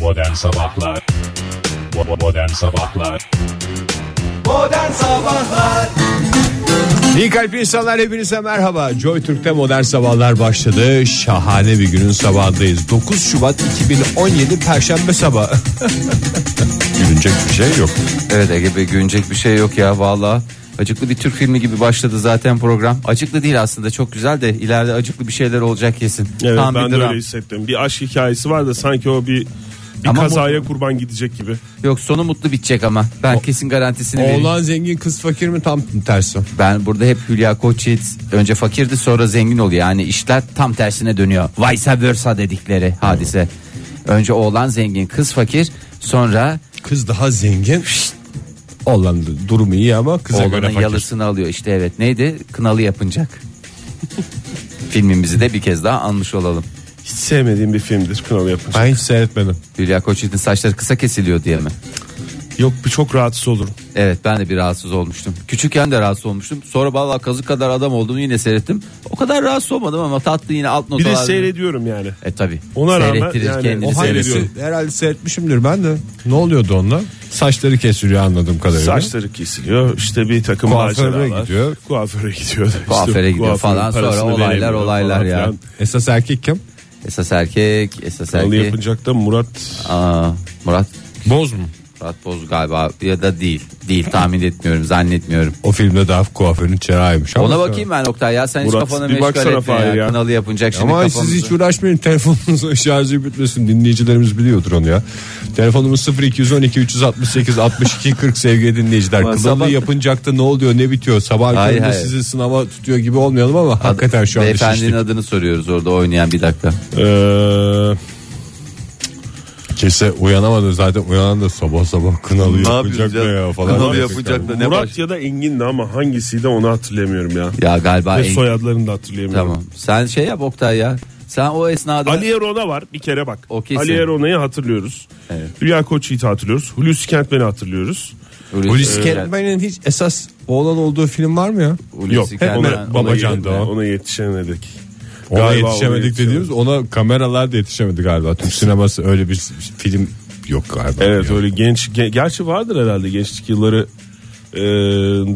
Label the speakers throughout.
Speaker 1: Modern Sabahlar Bo- Modern Sabahlar
Speaker 2: Modern Sabahlar
Speaker 3: İyi kalp insanlar hepinize merhaba. Joy Türk'te modern sabahlar başladı. Şahane bir günün sabahındayız. 9 Şubat 2017 Perşembe sabahı. Gülünecek bir şey yok.
Speaker 2: Evet Ege Bey gülünecek bir şey yok ya valla Acıklı bir Türk filmi gibi başladı zaten program Acıklı değil aslında çok güzel de ileride acıklı bir şeyler olacak kesin
Speaker 4: Evet
Speaker 2: Tam
Speaker 4: ben
Speaker 2: bir
Speaker 4: de
Speaker 2: dram.
Speaker 4: öyle hissettim. Bir aşk hikayesi var da sanki o bir bir
Speaker 2: Ama
Speaker 4: kazaya kurban gidecek gibi.
Speaker 2: Yok sonu mutlu bitecek ama ben kesin garantisini vereyim
Speaker 3: Oğlan zengin kız fakir mi tam tersi.
Speaker 2: Ben burada hep Hülya Koçyiğit önce fakirdi sonra zengin oluyor yani işler tam tersine dönüyor Vice versa dedikleri hadise Önce oğlan zengin kız fakir sonra
Speaker 3: Kız daha zengin. Oğlan da durumu iyi ama kıza göre
Speaker 2: Oğlanın
Speaker 3: fakir.
Speaker 2: yalısını alıyor işte evet neydi kınalı yapınacak Filmimizi de bir kez daha almış olalım
Speaker 4: Hiç sevmediğim bir filmdir Kınalı Yapınç.
Speaker 3: Ben hiç seyretmedim.
Speaker 2: Hülya Koçyiğit'in saçları kısa kesiliyor diye mi?
Speaker 4: Yok bir çok rahatsız olurum.
Speaker 2: Evet ben de bir rahatsız olmuştum. Küçükken de rahatsız olmuştum. Sonra valla kazık kadar adam olduğunu yine seyrettim. O kadar rahatsız olmadım ama tatlı yine alt
Speaker 4: Bir
Speaker 2: notalar.
Speaker 4: de seyrediyorum yani.
Speaker 2: E tabi.
Speaker 4: Ona rağmen
Speaker 2: Seyrettirir
Speaker 4: yani
Speaker 2: kendini
Speaker 4: o hangisi?
Speaker 2: seyrettirir.
Speaker 3: Herhalde seyretmişimdir ben de. Ne oluyordu onunla? Saçları kesiliyor anladığım kadarıyla.
Speaker 4: Saçları kesiliyor işte bir takım
Speaker 3: Kuaföre
Speaker 4: maceralar.
Speaker 3: gidiyor.
Speaker 4: Kuaföre gidiyor. İşte
Speaker 2: Kuaföre gidiyor
Speaker 4: kuaförün
Speaker 2: falan, sonra
Speaker 4: parasını
Speaker 2: olaylar,
Speaker 4: veremiyor
Speaker 2: olaylar
Speaker 4: falan
Speaker 2: ya.
Speaker 4: filan.
Speaker 3: Esas erkek kim?
Speaker 2: Esas erkek, esas
Speaker 4: Kınalı
Speaker 2: erkek.
Speaker 4: yapınacak da Murat
Speaker 2: Aa, Murat,
Speaker 3: Boz mu?
Speaker 2: Murat Boz galiba ya da değil. Değil tahmin etmiyorum zannetmiyorum.
Speaker 3: O filmde daha kuaförün çırağıymış. ama-
Speaker 2: Ona bakayım ben Oktay ya sen hiç
Speaker 4: Murat,
Speaker 2: kafana
Speaker 4: bir
Speaker 2: meşgul
Speaker 4: baksana
Speaker 2: etme ya.
Speaker 4: Fahir ya.
Speaker 2: Kınalı yapınacak şimdi
Speaker 3: Ama
Speaker 2: kafamızı.
Speaker 3: siz hiç uğraşmayın telefonunuzun şarjı bitmesin dinleyicilerimiz biliyordur onu ya. Telefonumuz 0212 368 62 40 sevgili dinleyiciler.
Speaker 2: Ama
Speaker 3: Kınalı
Speaker 2: sabah-
Speaker 3: yapınacakta ne oluyor ne bitiyor sabah
Speaker 2: Hayır,
Speaker 3: köründe
Speaker 2: hayır.
Speaker 3: sizi sınava tutuyor gibi olmayalım ama hakikaten şu anda
Speaker 2: Beyefendinin
Speaker 3: şiştik.
Speaker 2: adını soruyoruz orada oynayan bir dakika.
Speaker 4: eee,
Speaker 3: Kese Ee, uyanamadı zaten uyanan da sabah sabah kınalı yapacak da ya falan.
Speaker 4: Murat ya da Engin'di ama hangisiydi onu hatırlamıyorum ya.
Speaker 2: Ya galiba
Speaker 4: Ve
Speaker 2: en-
Speaker 4: soyadlarını da hatırlayamıyorum.
Speaker 2: Tamam. Sen şey yap Oktay ya. Sen o esnada
Speaker 4: Ali Erona var bir kere bak.
Speaker 2: O kesin.
Speaker 4: Ali Erona'yı hatırlıyoruz.
Speaker 2: Evet.
Speaker 4: Hülya Koçyiğit'i hatırlıyoruz. Hulusi Kentmen'i hatırlıyoruz.
Speaker 2: Hulusi-
Speaker 3: Polis
Speaker 2: Evet.
Speaker 3: Kentmen'in hiç esas oğlan olduğu film var mı ya?
Speaker 2: Hulusi
Speaker 4: Yok
Speaker 2: Kentmen-
Speaker 4: ona-
Speaker 2: ona
Speaker 3: Babacan da
Speaker 4: ona-
Speaker 3: o.
Speaker 4: Ona yetişemedik.
Speaker 3: Ona
Speaker 4: Galiba
Speaker 3: yetişemedik
Speaker 4: ona
Speaker 3: dediğimiz ona kameralar da yetişemedi galiba. Türk sineması öyle bir film yok galiba.
Speaker 4: Evet
Speaker 3: Ya.
Speaker 4: öyle genç ge- gerçi vardır herhalde gençlik yılları e,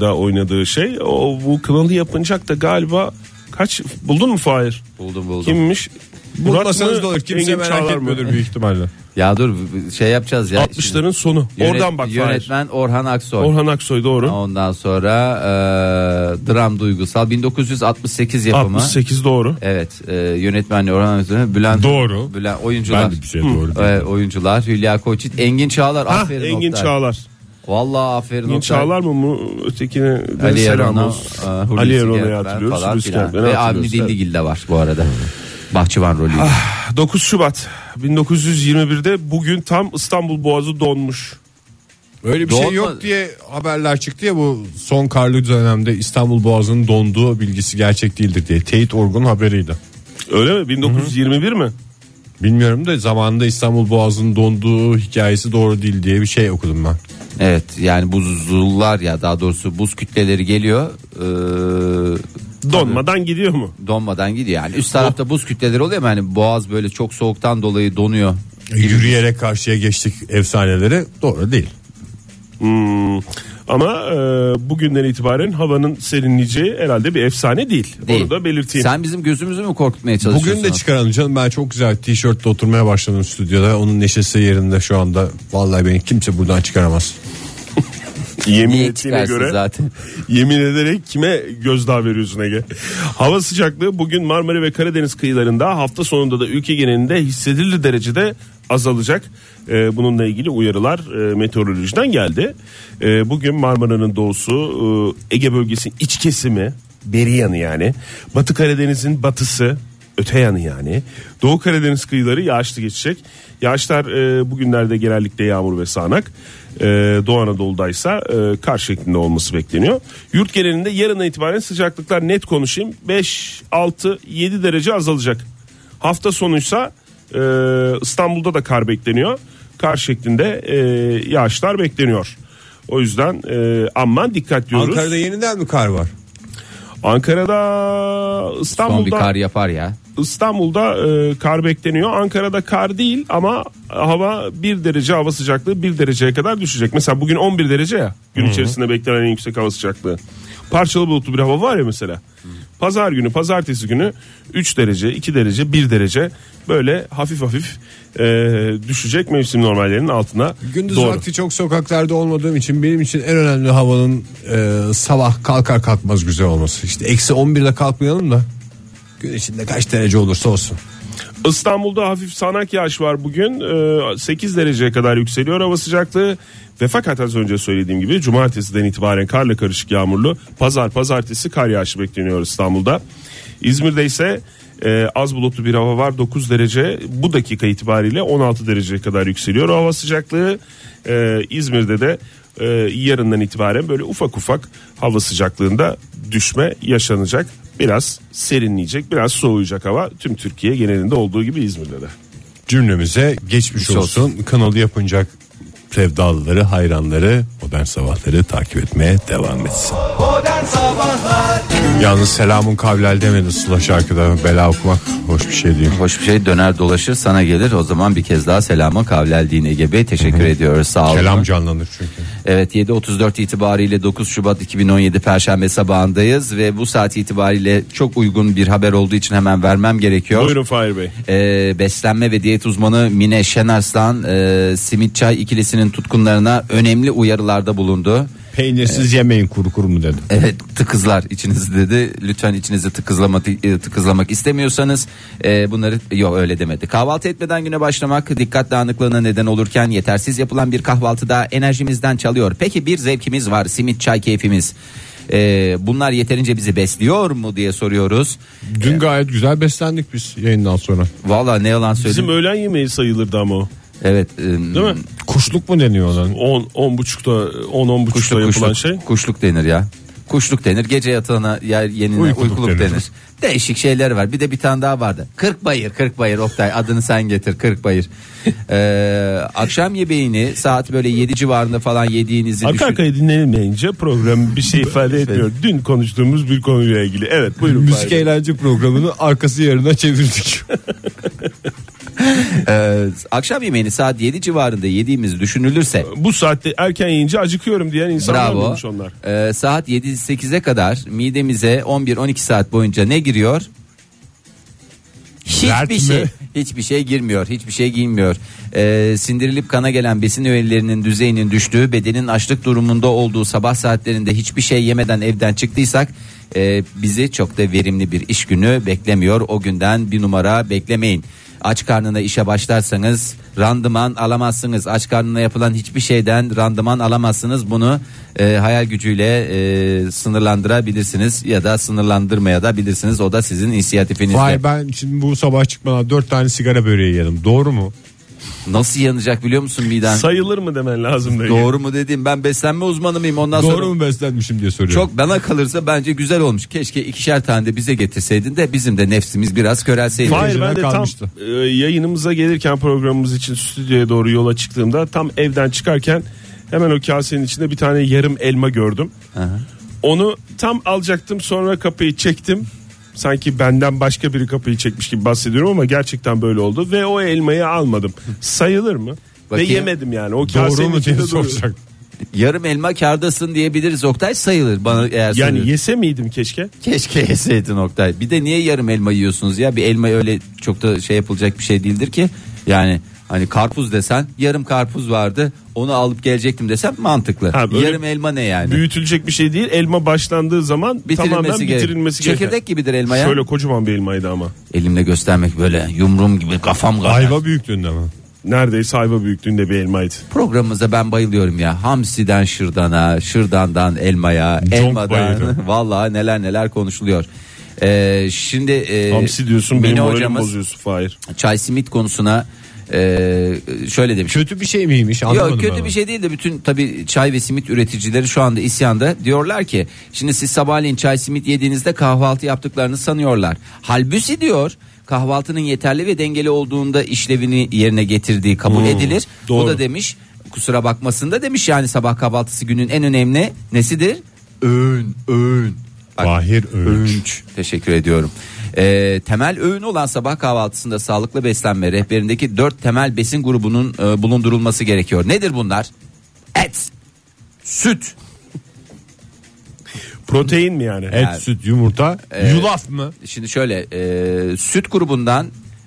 Speaker 4: da oynadığı şey. O bu kınalı yapınacak da galiba kaç buldun mu Fahir?
Speaker 2: Buldum buldum.
Speaker 4: Kimmiş? Murat
Speaker 3: Bulmasanız
Speaker 4: mı,
Speaker 3: da olur. Kimse
Speaker 4: Engin
Speaker 3: merak
Speaker 4: Çağlar mı?
Speaker 3: etmiyordur büyük ihtimalle.
Speaker 2: Ya dur b- şey yapacağız ya.
Speaker 4: 60'ların sonu.
Speaker 2: Şimdi yönet-
Speaker 4: Oradan bak Fahir.
Speaker 2: Yönetmen Orhan Aksoy.
Speaker 4: Orhan Aksoy doğru.
Speaker 2: Ondan sonra e, dram duygusal 1968 yapımı.
Speaker 4: 68 doğru.
Speaker 2: Evet, e, yönetmenliği Orhan Aksoy, Bülent
Speaker 3: Doğru.
Speaker 2: Bülent oyuncular.
Speaker 3: Ben de bir şey doğru
Speaker 2: Hı. E, oyuncular Hülya Koçit, Engin Çağlar.
Speaker 4: Hah
Speaker 2: aferin
Speaker 4: Engin
Speaker 2: Oktay.
Speaker 4: Çağlar.
Speaker 2: Vallahi aferin
Speaker 4: Engin
Speaker 2: Oktay.
Speaker 4: Çağlar mı mu ötekine de
Speaker 2: Ali
Speaker 4: selam
Speaker 2: Erona,
Speaker 4: olsun.
Speaker 2: e, Hulusi
Speaker 4: Ali Erona'yı
Speaker 2: Kentmen
Speaker 4: hatırlıyoruz.
Speaker 2: falan
Speaker 4: Hulusi
Speaker 2: filan.
Speaker 4: Kentmen'i
Speaker 2: Ve Avni
Speaker 4: hatırlıyoruz. Evet. Ah.
Speaker 2: Dildigil de var bu arada. Bahçıvan rolüyle.
Speaker 4: 9 Şubat 1921'de bugün tam İstanbul Boğazı donmuş.
Speaker 3: Öyle bir şey
Speaker 2: Doğma-
Speaker 3: yok diye haberler çıktı ya bu son karlı dönemde İstanbul Boğazı'nın donduğu bilgisi gerçek değildir diye. Teyit Orgun haberiydi.
Speaker 4: Öyle mi? 1921 mi?
Speaker 3: Bilmiyorum da zamanında İstanbul Boğazı'nın donduğu hikayesi doğru değil diye bir şey okudum ben.
Speaker 2: Evet yani buzullar ya daha doğrusu buz kütleleri geliyor ee,
Speaker 4: Donmadan gidiyor mu?
Speaker 2: donmadan gidiyor yani üst tarafta buz kütleleri oluyor ama hani boğaz böyle çok soğuktan dolayı donuyor.
Speaker 3: Yürüyerek karşıya geçtik efsaneleri doğru değil.
Speaker 4: Hmm. Ama e, bugünden itibaren havanın serinleyeceği herhalde bir efsane değil.
Speaker 2: Değil.
Speaker 4: Onu da belirteyim.
Speaker 2: Sen bizim gözümüzü mü korkutmaya çalışıyorsun?
Speaker 3: Bugün de çıkaralım canım ben çok güzel tişörtle oturmaya başladım stüdyoda. Onun neşesi yerinde şu anda. Vallahi beni kimse buradan çıkaramaz.
Speaker 4: yemin
Speaker 2: Niye
Speaker 4: ettiğine
Speaker 2: çıkarsın
Speaker 4: göre
Speaker 2: zaten?
Speaker 4: yemin ederek kime gözdağı veriyorsun Ege? Hava sıcaklığı bugün Marmara ve Karadeniz kıyılarında hafta sonunda da ülke genelinde hissedilir derecede azalacak. E, bununla ilgili uyarılar e, meteorolojiden geldi. E, bugün Marmara'nın doğusu, e, Ege bölgesinin iç kesimi, beri yanı yani. Batı Karadeniz'in batısı, öte yanı yani. Doğu Karadeniz kıyıları yağışlı geçecek. Yağışlar e, bugünlerde genellikle yağmur ve sağanak. E, Doğu Anadolu'daysa e, kar şeklinde olması bekleniyor. Yurt genelinde yarından itibaren sıcaklıklar net konuşayım 5, 6, 7 derece azalacak. Hafta sonuysa e, İstanbul'da da kar bekleniyor. Kar şeklinde e, yağışlar bekleniyor. O yüzden e, aman dikkat diyoruz.
Speaker 3: Ankara'da yeniden mi kar var?
Speaker 4: Ankara'da
Speaker 2: Son bir
Speaker 4: İstanbul'da
Speaker 2: kar yapar ya.
Speaker 4: İstanbul'da e, kar bekleniyor. Ankara'da kar değil ama hava 1 derece hava sıcaklığı 1 dereceye kadar düşecek. Mesela bugün 11 derece ya. Gün içerisinde beklenen en yüksek hava sıcaklığı. Parçalı bulutlu bir hava var ya mesela. Pazar günü, pazartesi günü 3 derece, 2 derece, 1 derece böyle hafif hafif e, düşecek mevsim normallerinin altına.
Speaker 3: Gündüz
Speaker 4: doğru.
Speaker 3: vakti çok sokaklarda olmadığım için benim için en önemli havanın e, sabah kalkar kalkmaz güzel olması. İşte eksi 11'de kalkmayalım da gün içinde kaç derece olursa olsun.
Speaker 4: İstanbul'da hafif sanak yağış var bugün. Ee, 8 dereceye kadar yükseliyor hava sıcaklığı. Ve fakat az önce söylediğim gibi cumartesiden itibaren karla karışık yağmurlu. Pazar pazartesi kar yağışı bekleniyor İstanbul'da. İzmir'de ise e, az bulutlu bir hava var 9 derece bu dakika itibariyle 16 dereceye kadar yükseliyor hava sıcaklığı Ee, İzmir'de de e, yarından itibaren böyle ufak ufak hava sıcaklığında düşme yaşanacak biraz serinleyecek biraz soğuyacak hava tüm Türkiye genelinde olduğu gibi İzmir'de de.
Speaker 3: Cümlemize geçmiş
Speaker 2: Geçmiş
Speaker 3: olsun. Kanalı yapınacak sevdalıları, hayranları modern sabahları takip etmeye devam etsin. Yalnız selamun kavlel demedi Sıla şarkıda bela okumak hoş bir şey değil.
Speaker 2: Hoş bir şey döner dolaşır sana gelir. O zaman bir kez daha selama kavleldiğin Ege Bey. Teşekkür ediyoruz. Sağ olun.
Speaker 3: Kelam canlanır çünkü.
Speaker 2: Evet 7.34 itibariyle 9 Şubat 2017 Perşembe sabahındayız ve bu saat itibariyle çok uygun bir haber olduğu için hemen vermem gerekiyor.
Speaker 4: Buyurun Fahir Bey.
Speaker 2: Ee, beslenme ve diyet uzmanı Mine Şenarslan e, simit çay ikilisinin tutkunlarına önemli uyarılarda bulundu.
Speaker 3: Peynirsiz yemeyin kuru kuru mu dedi.
Speaker 2: Evet tıkızlar içinizi dedi. Lütfen içinizi tıkızlama, tı- tıkızlamak istemiyorsanız e, bunları yok öyle demedi. Kahvaltı etmeden güne başlamak dikkat dağınıklığına neden olurken yetersiz yapılan bir kahvaltıda enerjimizden çalıyor. Peki bir zevkimiz var simit çay keyfimiz. E, bunlar yeterince bizi besliyor mu diye soruyoruz.
Speaker 3: Dün gayet güzel beslendik biz yayından sonra.
Speaker 2: Valla ne yalan söyleyeyim.
Speaker 4: Bizim öğlen yemeği sayılırdı ama o.
Speaker 2: evet. e,
Speaker 4: Değil mi?
Speaker 3: Kuşluk mu deniyor ona?
Speaker 4: 10 10 buçukta 10 10 buçukta
Speaker 2: Kuşluk,
Speaker 4: yapılan
Speaker 2: kuşluk,
Speaker 4: şey.
Speaker 2: kuşluk denir ya. Kuşluk denir. Gece yatağına yer yenine uykuluk,
Speaker 3: Uykuluk
Speaker 2: denir.
Speaker 3: denir.
Speaker 2: Değişik şeyler var. Bir de bir tane daha vardı. Kırkbayır, Kırkbayır Oktay adını sen getir Kırkbayır. Ee, akşam yemeğini saat böyle 7 civarında falan yediğinizi
Speaker 4: Arka
Speaker 2: düşün.
Speaker 4: arkaya dinlenilmeyince program bir şey ifade etmiyor. Dün konuştuğumuz bir konuyla ilgili. Evet buyurun.
Speaker 3: Müzik
Speaker 4: Fahir Bey.
Speaker 3: eğlence programını arkası yerine çevirdik.
Speaker 2: Ee, akşam yemeğini saat 7 civarında yediğimiz düşünülürse
Speaker 4: Bu saatte erken yiyince acıkıyorum diyen insanlar
Speaker 2: Bravo.
Speaker 4: olmuş onlar.
Speaker 2: Ee, saat 7-8'e kadar midemize 11-12 saat boyunca ne giriyor? Hiçbir
Speaker 3: Dert mi?
Speaker 2: şey, hiçbir şey girmiyor, hiçbir şey girmiyor. Ee, sindirilip kana gelen besin öğelerinin düzeyinin düştüğü, bedenin açlık durumunda olduğu sabah saatlerinde hiçbir şey yemeden evden çıktıysak e, bizi çok da verimli bir iş günü beklemiyor. O günden bir numara beklemeyin. Aç karnına işe başlarsanız randıman alamazsınız. Aç karnına yapılan hiçbir şeyden randıman alamazsınız. Bunu e, hayal gücüyle e, sınırlandırabilirsiniz ya da sınırlandırmaya da bilirsiniz. O da sizin inisiyatifinizde.
Speaker 3: Vay ben şimdi bu sabah çıkmadan dört tane sigara böreği yedim. Doğru mu?
Speaker 2: Nasıl yanacak biliyor musun miden?
Speaker 4: Sayılır mı demen lazım da.
Speaker 2: Doğru mu dedim ben beslenme uzmanı mıyım ondan sonra
Speaker 3: Doğru mu beslenmişim diye soruyorum.
Speaker 2: çok bana kalırsa bence güzel olmuş. Keşke ikişer tane de bize getirseydin de bizim de nefsimiz biraz körelseydi.
Speaker 4: Hayır ben de
Speaker 3: kalmıştı.
Speaker 4: tam e, yayınımıza gelirken programımız için stüdyoya doğru yola çıktığımda tam evden çıkarken hemen o kasenin içinde bir tane yarım elma gördüm. Onu tam alacaktım sonra kapıyı çektim. Sanki benden başka biri kapıyı çekmiş gibi bahsediyorum ama gerçekten böyle oldu ve o elmayı almadım. Sayılır mı?
Speaker 2: Bakayım.
Speaker 4: Ve yemedim yani. O
Speaker 3: Doğru
Speaker 4: kasenin
Speaker 3: mu diye
Speaker 4: içinde duruyor.
Speaker 3: soracak.
Speaker 2: Yarım elma kardasın diyebiliriz Oktay sayılır bana eğer
Speaker 4: Yani
Speaker 2: sanıyorum.
Speaker 4: yese miydim keşke?
Speaker 2: Keşke yeseydin Oktay. Bir de niye yarım elma yiyorsunuz ya? Bir elma öyle çok da şey yapılacak bir şey değildir ki. Yani hani karpuz desen yarım karpuz vardı. Onu alıp gelecektim desem mantıklı.
Speaker 4: Ha, böyle
Speaker 2: yarım elma ne yani?
Speaker 4: Büyütülecek bir şey değil. Elma başlandığı zaman
Speaker 2: Bitirilmesi
Speaker 4: tamamen
Speaker 2: gerek-
Speaker 4: bitirilmesi gereken.
Speaker 2: Çekirdek gibidir elma ya.
Speaker 4: Şöyle kocaman bir elmaydı ama.
Speaker 2: Elimle göstermek böyle yumrum gibi kafam kadar.
Speaker 3: Ayva büyüklüğünde mi?
Speaker 4: Neredeyse ayva büyüklüğünde bir elmaydı.
Speaker 2: Programımıza ben bayılıyorum ya. Hamsiden şırdana, şırdandan elmaya, elmadan.
Speaker 3: bayılırım.
Speaker 2: Vallahi neler neler konuşuluyor. Ee, şimdi e,
Speaker 4: Hamsi diyorsun
Speaker 2: Mine
Speaker 4: benim moralimi
Speaker 2: hocamız
Speaker 4: bozuyorsun Fahir.
Speaker 2: çay simit konusuna e, şöyle demiş.
Speaker 3: Kötü bir şey miymiş anlamadım
Speaker 2: Yok kötü
Speaker 3: ben onu.
Speaker 2: bir şey değil de bütün tabi çay ve simit üreticileri şu anda isyanda. Diyorlar ki şimdi siz sabahleyin çay simit yediğinizde kahvaltı yaptıklarını sanıyorlar. Halbuki diyor kahvaltının yeterli ve dengeli olduğunda işlevini yerine getirdiği kabul edilir. Bu
Speaker 4: doğru.
Speaker 2: da demiş kusura bakmasında demiş yani sabah kahvaltısı günün en önemli nesidir? Öğün, öğün. Bak,
Speaker 3: Fahir Öğünç.
Speaker 2: Teşekkür ediyorum. Ee, temel öğün olan sabah kahvaltısında sağlıklı beslenme rehberindeki 4 temel besin grubunun e, bulundurulması gerekiyor. Nedir bunlar? Et, süt,
Speaker 4: Protein mi yani?
Speaker 3: Et, süt, yumurta, yulaf mı?
Speaker 2: Şimdi şöyle e, süt grubundan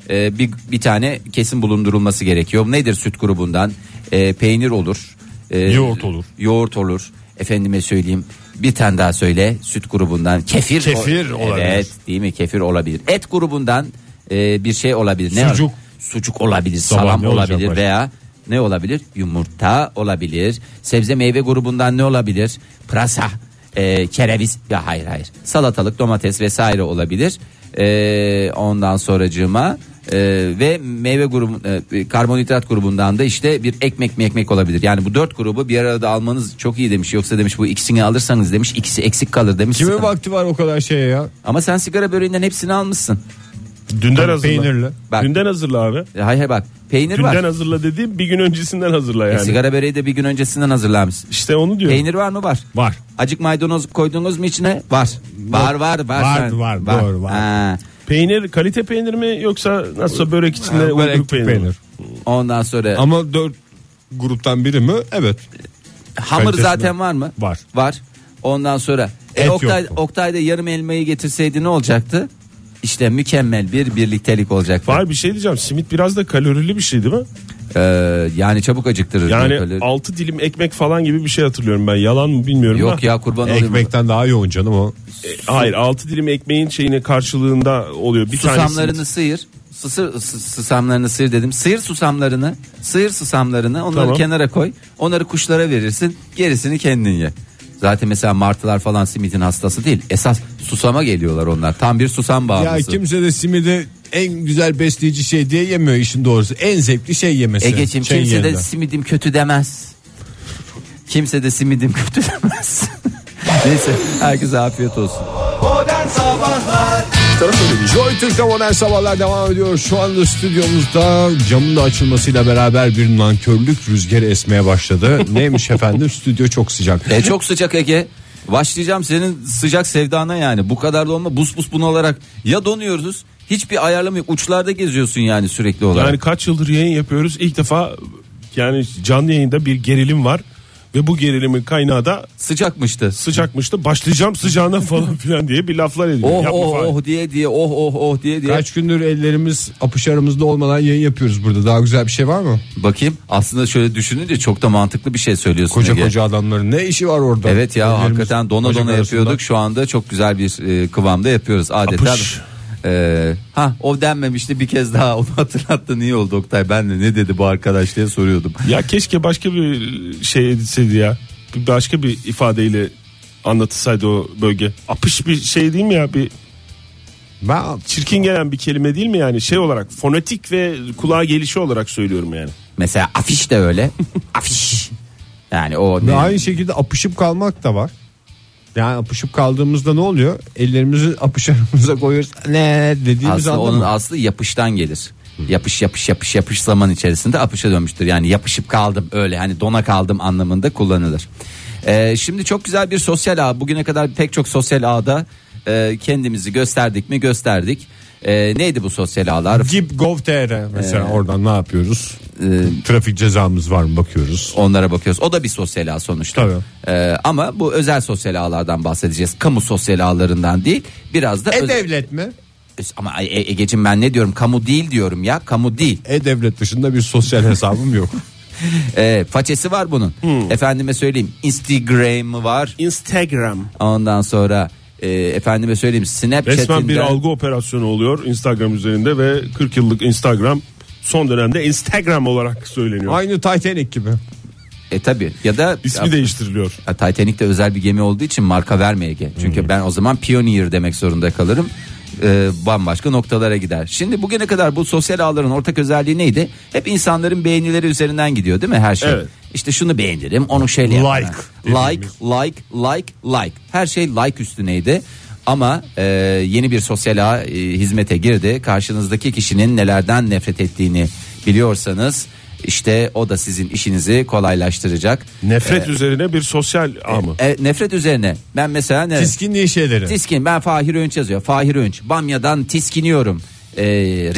Speaker 2: e, bir, bir tane kesin bulundurulması gerekiyor. Nedir süt grubundan? E, peynir olur. E,
Speaker 3: Yoğurt olur.
Speaker 2: Yoğurt olur. Efendime söyleyeyim bir tane daha söyle süt grubundan kefir.
Speaker 3: Kefir olabilir.
Speaker 2: Evet değil mi kefir olabilir. Et grubundan e, bir şey olabilir. Ne
Speaker 3: Sucuk.
Speaker 2: var? Sucuk olabilir
Speaker 3: Tamam,
Speaker 2: salam
Speaker 3: ne olacak
Speaker 2: olabilir
Speaker 3: başka?
Speaker 2: veya ne olabilir? Yumurta olabilir. Sebze meyve grubundan ne olabilir? Pırasa, e, kereviz ya hayır hayır. Salatalık, domates vesaire olabilir. E, ondan sonracığıma e, ve meyve grubu e, karbonhidrat grubundan da işte bir ekmek mi ekmek olabilir. Yani bu dört grubu bir arada almanız çok iyi demiş. Yoksa demiş bu ikisini alırsanız demiş ikisi eksik kalır demiş.
Speaker 3: Kimin
Speaker 2: Sıkıntı.
Speaker 3: vakti var o kadar şeye ya?
Speaker 2: Ama sen sigara böreğinden hepsini almışsın.
Speaker 4: Dünden hazırla.
Speaker 3: Peynirli.
Speaker 2: Bak.
Speaker 4: Dünden hazırla abi.
Speaker 2: E, Hay hay bak peynir
Speaker 4: Dünden
Speaker 2: var.
Speaker 4: hazırla dediğim bir gün öncesinden hazırla
Speaker 2: E,
Speaker 4: yani.
Speaker 2: sigara böreği de bir gün öncesinden hazırlanmış.
Speaker 4: İşte onu diyorum.
Speaker 2: Peynir var mı? Var.
Speaker 3: Var.
Speaker 2: Acık maydanoz koydunuz mu içine? Var. Var var var.
Speaker 3: Var, var, doğru, var.
Speaker 2: Ha.
Speaker 4: Peynir kalite peynir mi yoksa nasılsa börek içinde
Speaker 3: Böyle
Speaker 4: uyduruk
Speaker 3: ekmek
Speaker 4: peynir. mi?
Speaker 3: peynir.
Speaker 2: Ondan sonra
Speaker 3: Ama dört gruptan biri mi? Evet.
Speaker 2: hamur
Speaker 3: kalitesine-
Speaker 2: zaten var mı?
Speaker 3: Var.
Speaker 2: Var. Ondan sonra
Speaker 3: Et
Speaker 2: e, Oktay,
Speaker 3: yoktu.
Speaker 2: Oktay da yarım elmayı getirseydi ne olacaktı? İşte mükemmel bir birliktelik olacaktı.
Speaker 4: Var bir şey diyeceğim. Simit biraz da kalorili bir şey değil mi?
Speaker 2: Ee, yani çabuk acıktırır.
Speaker 4: Yani
Speaker 2: Böyle-
Speaker 4: altı dilim ekmek falan gibi bir şey hatırlıyorum ben. Yalan mı bilmiyorum
Speaker 2: Yok
Speaker 4: da.
Speaker 2: ya kurban olayım.
Speaker 3: Ekmekten daha yoğun canım o.
Speaker 4: E, hayır altı dilim ekmeğin şeyine karşılığında oluyor. Bir tane
Speaker 2: Susamlarını
Speaker 4: simit.
Speaker 2: sıyır. Sısır, sı- susamlarını sıyır dedim. Sıyır susamlarını, sıyır susamlarını onları
Speaker 4: Tamam.
Speaker 2: kenara koy. Onları kuşlara verirsin. Gerisini kendin ye. Zaten mesela martılar falan simitin hastası değil. Esas susama geliyorlar onlar. Tam bir susam
Speaker 3: Ya
Speaker 2: bağımlısı.
Speaker 3: kimse de simidi en güzel besleyici şey diye yemiyor işin doğrusu. En zevkli şey yemesi.
Speaker 2: Ege'cim
Speaker 3: Şeyin
Speaker 2: kimse de
Speaker 3: yanında.
Speaker 2: simidim kötü demez. Kimse de simidim kötü demez. Neyse herkese afiyet olsun.
Speaker 3: Joy Türk'te modern sabahlar devam ediyor. Şu anda stüdyomuzda camın da açılmasıyla beraber bir nankörlük rüzgarı esmeye başladı. Neymiş efendim stüdyo çok sıcak.
Speaker 2: E çok sıcak Ege. Başlayacağım senin sıcak sevdana yani. Bu kadar da olma. Bus bus bunu olarak ya donuyoruz. Hiçbir ayarlama yok. Uçlarda geziyorsun yani sürekli olarak.
Speaker 4: Yani kaç yıldır yayın yapıyoruz. İlk defa yani canlı yayında bir gerilim var. Ve bu gerilimin kaynağı da
Speaker 2: Sıcakmıştı.
Speaker 4: sıcakmıştı. Başlayacağım sıcağına falan filan diye bir laflar ediyor.
Speaker 2: Oh
Speaker 4: Yapma
Speaker 2: oh
Speaker 4: falan.
Speaker 2: oh diye diye oh oh oh diye diye.
Speaker 3: Kaç gündür ellerimiz apışarımızda olmadan yayın yapıyoruz burada. Daha güzel bir şey var mı?
Speaker 2: Bakayım aslında şöyle düşününce çok da mantıklı bir şey söylüyorsun
Speaker 3: Koca
Speaker 2: Ege.
Speaker 3: koca adamların ne işi var orada?
Speaker 2: Evet ya
Speaker 3: Ellerimiz
Speaker 2: hakikaten dona
Speaker 3: bacak
Speaker 2: dona
Speaker 3: arasında.
Speaker 2: yapıyorduk. Şu anda çok güzel bir e, kıvamda yapıyoruz adeta.
Speaker 4: Apış.
Speaker 2: E, ha o denmemişti bir kez daha onu hatırlattın iyi oldu Oktay. Ben de ne dedi bu arkadaş diye soruyordum.
Speaker 4: Ya keşke başka bir şey edilseydi ya. Bir Başka bir ifadeyle anlatılsaydı o bölge. Apış bir şey değil mi ya? Bir
Speaker 3: Ben
Speaker 4: çirkin gelen bir kelime değil mi yani? Şey olarak fonetik ve kulağa gelişi olarak söylüyorum yani.
Speaker 2: Mesela afiş de öyle. afiş. Yani o
Speaker 3: Ve
Speaker 2: ne?
Speaker 3: aynı şekilde apışıp kalmak da var. Yani apışıp kaldığımızda ne oluyor? Ellerimizi apışarımıza koyuyoruz. Ne dediğimiz
Speaker 2: aslında
Speaker 3: anda
Speaker 2: onun
Speaker 3: mı?
Speaker 2: aslı yapıştan gelir. Yapış yapış yapış yapış zaman içerisinde apışa dönmüştür. Yani yapışıp kaldım öyle hani dona kaldım anlamında kullanılır. Ee, şimdi çok güzel bir sosyal ağ. Bugüne kadar pek çok sosyal ağda e, kendimizi gösterdik mi gösterdik. E, neydi bu sosyal ağlar?
Speaker 3: Gip.gov.tr mesela oradan ne yapıyoruz?
Speaker 2: Ee,
Speaker 3: Trafik cezamız var mı bakıyoruz.
Speaker 2: Onlara bakıyoruz. O da bir sosyal ağ sonuçta.
Speaker 3: Tabii.
Speaker 2: Ee, ama bu özel sosyal ağlardan bahsedeceğiz. Kamu sosyal ağlarından değil. Biraz da özel-
Speaker 3: E-Devlet mi?
Speaker 2: Ama E- Ege'cim ben ne diyorum kamu değil diyorum ya kamu değil.
Speaker 3: E-Devlet dışında bir sosyal hesabım yok.
Speaker 2: Ee, façesi var bunun.
Speaker 4: Hmm.
Speaker 2: Efendime söyleyeyim Instagram'ı var.
Speaker 4: Instagram.
Speaker 2: Ondan sonra e, efendime söyleyeyim
Speaker 4: Resmen bir
Speaker 2: Snapchat'inden.
Speaker 4: algı operasyonu oluyor Instagram üzerinde ve 40 yıllık Instagram son dönemde Instagram olarak söyleniyor.
Speaker 3: Aynı Titanic gibi.
Speaker 2: E tabi ya da
Speaker 4: İsmi değiştiriliyor.
Speaker 2: Ya, Titanic de özel bir gemi olduğu için marka verme Ege. Çünkü ben o zaman Pioneer demek zorunda kalırım. Ee, bambaşka noktalara gider. Şimdi bugüne kadar bu sosyal ağların ortak özelliği neydi? Hep insanların beğenileri üzerinden gidiyor değil mi her şey?
Speaker 4: Evet.
Speaker 2: İşte şunu beğenirim, onu şeyle yaparım.
Speaker 3: Like
Speaker 2: like, like, like, like. Her şey like üstüneydi. Ama e, yeni bir sosyal ağ e, hizmete girdi. Karşınızdaki kişinin nelerden nefret ettiğini biliyorsanız işte o da sizin işinizi kolaylaştıracak.
Speaker 4: Nefret
Speaker 2: Ee,
Speaker 4: üzerine bir sosyal ağ mı?
Speaker 2: E, nefret üzerine ben mesela ne?
Speaker 3: Tiskinliği şeyleri.
Speaker 2: Tiskin ben Fahir Önç yazıyor. Fahir Önç. Bamya'dan tiskiniyorum. Ee,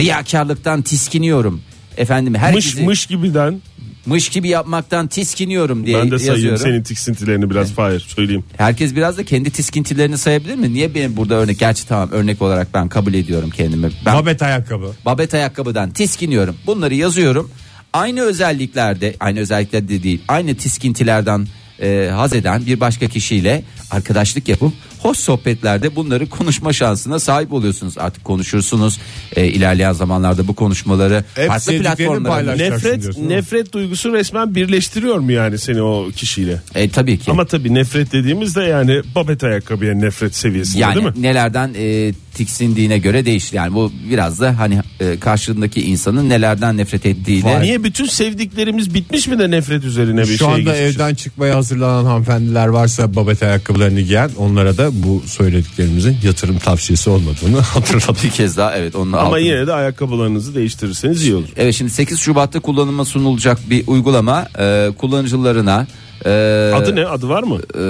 Speaker 2: riyakarlıktan tiskiniyorum. Efendim her
Speaker 4: Mış
Speaker 2: bizi-
Speaker 4: mış gibiden
Speaker 2: mış gibi yapmaktan tiskiniyorum diye
Speaker 4: ben de sayayım
Speaker 2: yazıyorum.
Speaker 4: senin tiksintilerini biraz Fahir söyleyeyim.
Speaker 2: Herkes biraz da kendi tiskintilerini sayabilir mi? Niye benim burada örnek? Gerçi tamam örnek olarak ben kabul ediyorum kendimi. Ben
Speaker 3: Babet ayakkabı.
Speaker 2: babet ayakkabıdan tiskiniyorum. Bunları yazıyorum. Aynı özelliklerde, aynı özelliklerde de değil, aynı tiskintilerden e, haz eden bir başka kişiyle arkadaşlık yapıp hoş sohbetlerde bunları konuşma şansına sahip oluyorsunuz. Artık konuşursunuz. E, ilerleyen zamanlarda bu konuşmaları
Speaker 3: Hep
Speaker 2: farklı
Speaker 3: sevdiklerini
Speaker 2: platformlarda.
Speaker 3: paylaş. Yaşarsın
Speaker 4: Nefret
Speaker 3: diyorsun,
Speaker 4: nefret duygusu resmen birleştiriyor mu yani seni o kişiyle?
Speaker 2: E, tabii ki.
Speaker 4: Ama tabii nefret dediğimizde yani babet ayakkabıya nefret seviyesinde
Speaker 2: yani
Speaker 4: değil mi?
Speaker 2: nelerden e, tiksindiğine göre değişir. Yani bu biraz da hani e, karşındaki insanın nelerden nefret ettiğiyle
Speaker 4: Niye bütün sevdiklerimiz bitmiş mi de nefret üzerine bir şey
Speaker 3: Şu anda
Speaker 4: geçmişiz?
Speaker 3: evden çıkmaya hazırlanan hanımefendiler varsa babet ayakkabılarını giyen onlara da bu söylediklerimizin yatırım tavsiyesi olmadığını hatırladım.
Speaker 2: bir kez daha evet onun
Speaker 4: Ama
Speaker 2: altını-
Speaker 4: yine de ayakkabılarınızı değiştirirseniz iyi olur.
Speaker 2: Evet şimdi 8 Şubat'ta kullanıma sunulacak bir uygulama e, kullanıcılarına e,
Speaker 4: Adı ne? Adı var mı?
Speaker 2: e,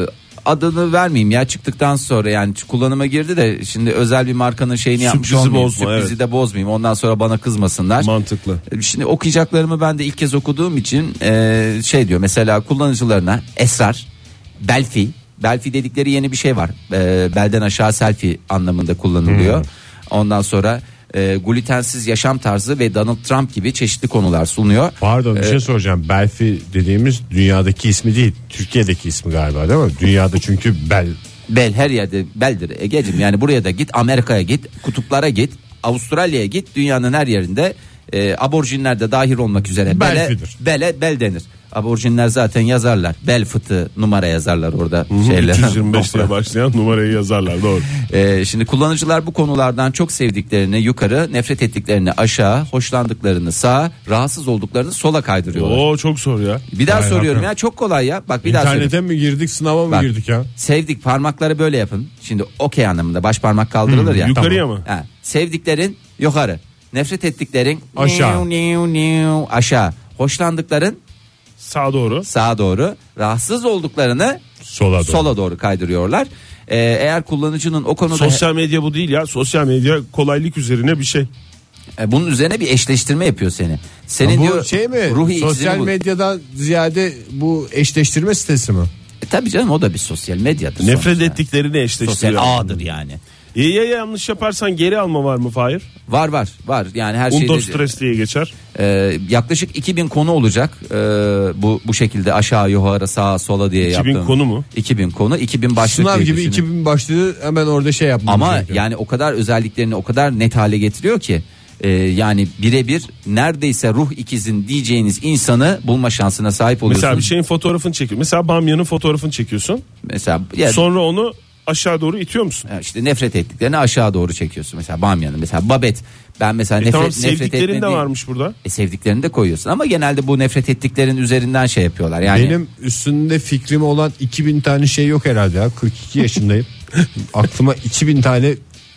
Speaker 2: adını vermeyeyim ya çıktıktan sonra yani kullanıma girdi de şimdi özel bir markanın şeyini yapmış
Speaker 4: Sürprizi
Speaker 2: olmayayım.
Speaker 4: bozma,
Speaker 2: Sürprizi
Speaker 4: evet.
Speaker 2: de bozmayayım ondan sonra bana kızmasınlar.
Speaker 4: Mantıklı.
Speaker 2: Şimdi okuyacaklarımı ben de ilk kez okuduğum için e, şey diyor mesela kullanıcılarına Esrar, Belfi, Belfi dedikleri yeni bir şey var. E, belden aşağı selfie anlamında kullanılıyor. Ondan sonra e, glutensiz yaşam tarzı ve Donald Trump gibi çeşitli konular sunuyor.
Speaker 3: Pardon bir şey soracağım. Belfi dediğimiz dünyadaki ismi değil. Türkiye'deki ismi galiba değil mi? Dünyada çünkü bel
Speaker 2: Bel her yerde beldir Ege'cim yani buraya da git Amerika'ya git kutuplara git Avustralya'ya git dünyanın her yerinde e, aborjinler de dahil olmak üzere bele,
Speaker 3: Belfidir.
Speaker 2: bele bel denir. Aborjinler zaten yazarlar bel fıtı numara yazarlar orada şeyler.
Speaker 4: 325 diye başlayan numarayı yazarlar doğru.
Speaker 2: E, şimdi kullanıcılar bu konulardan çok sevdiklerini yukarı nefret ettiklerini aşağı hoşlandıklarını sağa rahatsız olduklarını sola kaydırıyorlar.
Speaker 4: Oo çok zor ya.
Speaker 2: Bir daha
Speaker 3: Vay
Speaker 2: soruyorum
Speaker 3: bakalım.
Speaker 2: ya çok kolay ya bak bir daha söyleyeyim.
Speaker 3: İnternete mi girdik sınava mı
Speaker 2: Bak.
Speaker 3: girdik ya?
Speaker 2: Sevdik parmakları böyle yapın. Şimdi okey anlamında baş parmak
Speaker 3: Hmm,
Speaker 2: kaldırılır ya.
Speaker 4: yukarıya mı?
Speaker 2: Ha, sevdiklerin yukarı. Nefret ettiklerin
Speaker 3: Aşağı.
Speaker 2: niu, niu, niu, aşağı. Hoşlandıkların
Speaker 4: Sağa doğru.
Speaker 2: sağa doğru. Rahatsız olduklarını
Speaker 3: Sola doğru.
Speaker 2: sola doğru kaydırıyorlar. Ee, eğer kullanıcının o konuda
Speaker 4: Sosyal medya bu değil ya. Sosyal medya kolaylık üzerine bir şey.
Speaker 2: E, bunun üzerine bir eşleştirme yapıyor seni. Senin
Speaker 3: bu
Speaker 2: diyor
Speaker 3: şey mi?
Speaker 2: ruhi
Speaker 3: Sosyal
Speaker 2: ikizini bul-
Speaker 3: medyadan ziyade bu eşleştirme sitesi mi?
Speaker 2: E, tabii canım o da bir sosyal medyadır.
Speaker 4: Nefret
Speaker 2: sonuçta.
Speaker 4: ettiklerini eşleştiriyor.
Speaker 2: sosyal ağdır yani.
Speaker 4: Ya, ya yanlış yaparsan geri alma var mı Fahir?
Speaker 2: Var var var yani her
Speaker 4: Undo
Speaker 2: şeyde
Speaker 4: stres diye geçer.
Speaker 2: Ee, yaklaşık 2000 konu olacak. Ee, bu bu şekilde aşağı yukarı sağa sola diye
Speaker 4: 2000
Speaker 2: yaptım.
Speaker 4: konu mu?
Speaker 2: 2000 konu, 2000 başlık
Speaker 3: Sınav
Speaker 2: diye
Speaker 3: gibi
Speaker 2: düşünün.
Speaker 3: 2000 başlığı hemen orada şey yapmamız
Speaker 2: Ama
Speaker 3: gerekiyor.
Speaker 2: yani o kadar özelliklerini o kadar net hale getiriyor ki e, yani birebir neredeyse ruh ikizin diyeceğiniz insanı bulma şansına sahip oluyorsunuz.
Speaker 4: Mesela bir şey- şeyin fotoğrafını çekiyor. Mesela bamyanın fotoğrafını çekiyorsun.
Speaker 2: Mesela ya,
Speaker 4: Sonra onu aşağı doğru itiyor musun?
Speaker 2: ya işte nefret ettiklerini aşağı doğru çekiyorsun. Mesela Bamyan'ın mesela Babet. Ben mesela
Speaker 4: E
Speaker 2: nefret,
Speaker 4: tamam
Speaker 2: nefret
Speaker 4: sevdiklerin de
Speaker 2: etmediğim-
Speaker 4: varmış burada.
Speaker 2: E, sevdiklerini de koyuyorsun ama genelde bu nefret ettiklerin üzerinden şey yapıyorlar. Yani
Speaker 3: Benim üstünde fikrim olan 2000 tane şey yok herhalde ya. 42 yaşındayım. Aklıma 2000 tane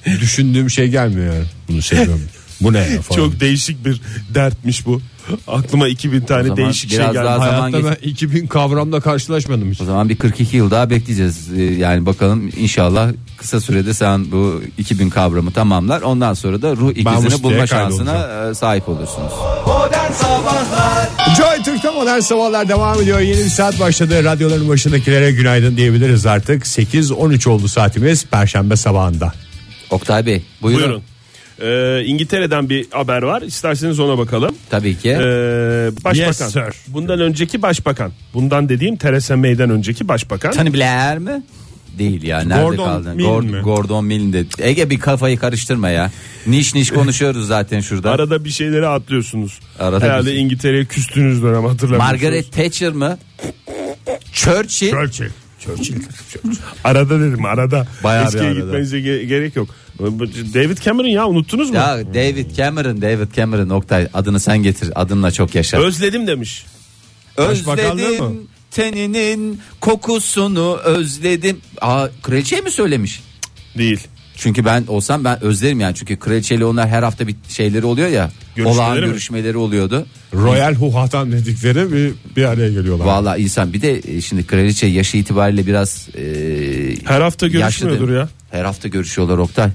Speaker 3: düşündüğüm şey gelmiyor yani. Bunu seviyorum. Bu ne ya falan.
Speaker 4: Çok değişik bir dertmiş bu. Aklıma 2000
Speaker 2: O
Speaker 4: tane
Speaker 2: zaman
Speaker 4: değişik şey
Speaker 2: biraz
Speaker 4: geldi.
Speaker 2: daha zaman
Speaker 3: Hayatta
Speaker 2: geç-
Speaker 3: ben 2000 kavramla karşılaşmadım hiç.
Speaker 2: O zaman bir 42 yıl daha bekleyeceğiz. Ee, Yani bakalım inşallah kısa sürede sen bu 2000 kavramı tamamlar. Ondan sonra da ruh
Speaker 3: Rus
Speaker 2: ikizini
Speaker 3: diye
Speaker 2: bulma şansına e, sahip olursunuz.
Speaker 3: Joy Türk'te modern sabahlar devam ediyor. Yeni bir saat başladı. Radyoların başındakilere günaydın diyebiliriz artık. 8-13 oldu saatimiz Perşembe sabahında.
Speaker 2: Oktay Bey buyurun.
Speaker 4: Buyurun. Ee, İngiltere'den bir haber var. İsterseniz ona bakalım.
Speaker 2: Tabii ki.
Speaker 4: Ee, başbakan.
Speaker 3: Yes, sir.
Speaker 4: bundan önceki başbakan. Bundan dediğim Theresa May'den önceki başbakan.
Speaker 2: Tony Blair mi? Değil ya. Nerede
Speaker 3: Gordon
Speaker 2: kaldın?
Speaker 3: Mill
Speaker 2: Gordon,
Speaker 3: mi?
Speaker 2: Gordon Mill'in de. Ege bir kafayı karıştırma ya. Niş niş konuşuyoruz zaten şurada.
Speaker 4: Arada bir şeyleri atlıyorsunuz.
Speaker 2: Arada
Speaker 4: Herhalde
Speaker 2: bir şey.
Speaker 4: İngiltere'ye küstüğünüz dönem hatırlamıyorsunuz.
Speaker 2: Margaret Thatcher mı? Churchill.
Speaker 4: Churchill. Arada dedim arada.
Speaker 2: Bayağı bir
Speaker 4: Eskiye
Speaker 2: arada.
Speaker 4: gitmenize ge- gerek yok. David Cameron ya unuttunuz mu?
Speaker 2: Ya David Cameron, David Cameron Oktay adını sen getir. Adınla çok yaşa.
Speaker 4: Özledim demiş.
Speaker 3: Başbakanlığı mı?
Speaker 2: Özledim teninin kokusunu özledim. Aa kraliçeye mi söylemiş?
Speaker 4: Değil.
Speaker 2: Çünkü ben olsam ben özlerim yani. Çünkü kraliçeyle onlar her hafta bir şeyleri oluyor ya.
Speaker 4: Görüşmeleri
Speaker 2: olağan
Speaker 4: mi?
Speaker 2: görüşmeleri oluyordu.
Speaker 3: Royal Huhatan dedikleri bir, bir araya geliyorlar.
Speaker 2: Valla insan bir de e, şimdi kraliçe yaşı itibariyle biraz e,
Speaker 4: Her hafta
Speaker 2: yaşlı değil mi?
Speaker 4: görüşmüyordur ya.
Speaker 2: Her hafta görüşüyorlar Oktay.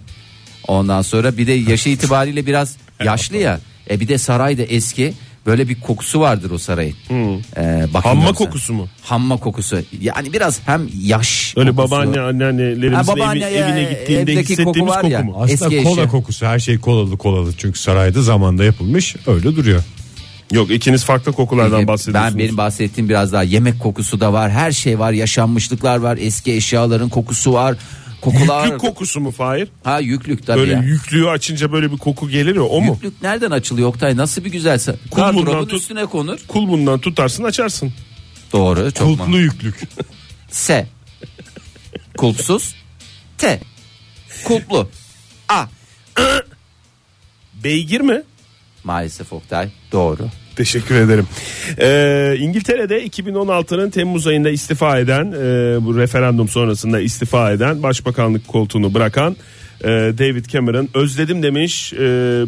Speaker 2: Ondan sonra bir de yaşı itibariyle biraz yaşlı ya. E bir de saray da eski. Böyle bir kokusu vardır o sarayın. E, bakın
Speaker 4: Hamma
Speaker 2: yoksa.
Speaker 4: kokusu mu?
Speaker 2: Hamma kokusu. Yani biraz hem yaş.
Speaker 4: Öyle
Speaker 2: kokusu.
Speaker 4: babaanne anneannelerimizin
Speaker 2: Ha, babaanne
Speaker 4: evi-
Speaker 2: ya,
Speaker 4: evine gittiğinde
Speaker 2: evdeki
Speaker 4: hissettiğimiz
Speaker 2: koku
Speaker 4: koku,
Speaker 2: var ya.
Speaker 4: mu?
Speaker 3: Aslında
Speaker 2: Eski
Speaker 3: kola
Speaker 2: eşya.
Speaker 3: kokusu her şey kolalı kolalı çünkü sarayda zamanda yapılmış öyle duruyor.
Speaker 4: Yok ikiniz farklı kokulardan
Speaker 2: E,
Speaker 4: bahsediyorsunuz.
Speaker 2: Ben benim bahsettiğim biraz daha yemek kokusu da var. Her şey var. Yaşanmışlıklar var. Eski eşyaların kokusu var. Kokular.
Speaker 4: Yüklük kokusu mu Fahir?
Speaker 2: ha yüklük tabii.
Speaker 4: Böyle
Speaker 2: ya.
Speaker 4: yüklüğü açınca böyle bir koku gelir ya o mu?
Speaker 2: Yüklük nereden açılıyor Oktay? Nasıl bir güzelse.
Speaker 4: Kulbundan
Speaker 2: Gardırobun
Speaker 4: tut.
Speaker 2: üstüne konur.
Speaker 4: Kul bundan tutarsın açarsın.
Speaker 2: Doğru. Çok
Speaker 3: Kulplu
Speaker 2: mantıklı.
Speaker 3: yüklük.
Speaker 2: S. Kulpsuz. T. Kulplu. A.
Speaker 4: Beygir mi?
Speaker 2: Maalesef Oktay. Doğru.
Speaker 4: Teşekkür ederim. Ee, İngiltere'de 2016'nın Temmuz ayında istifa eden, e, bu referandum sonrasında istifa eden, başbakanlık koltuğunu bırakan e, David Cameron özledim demiş. E,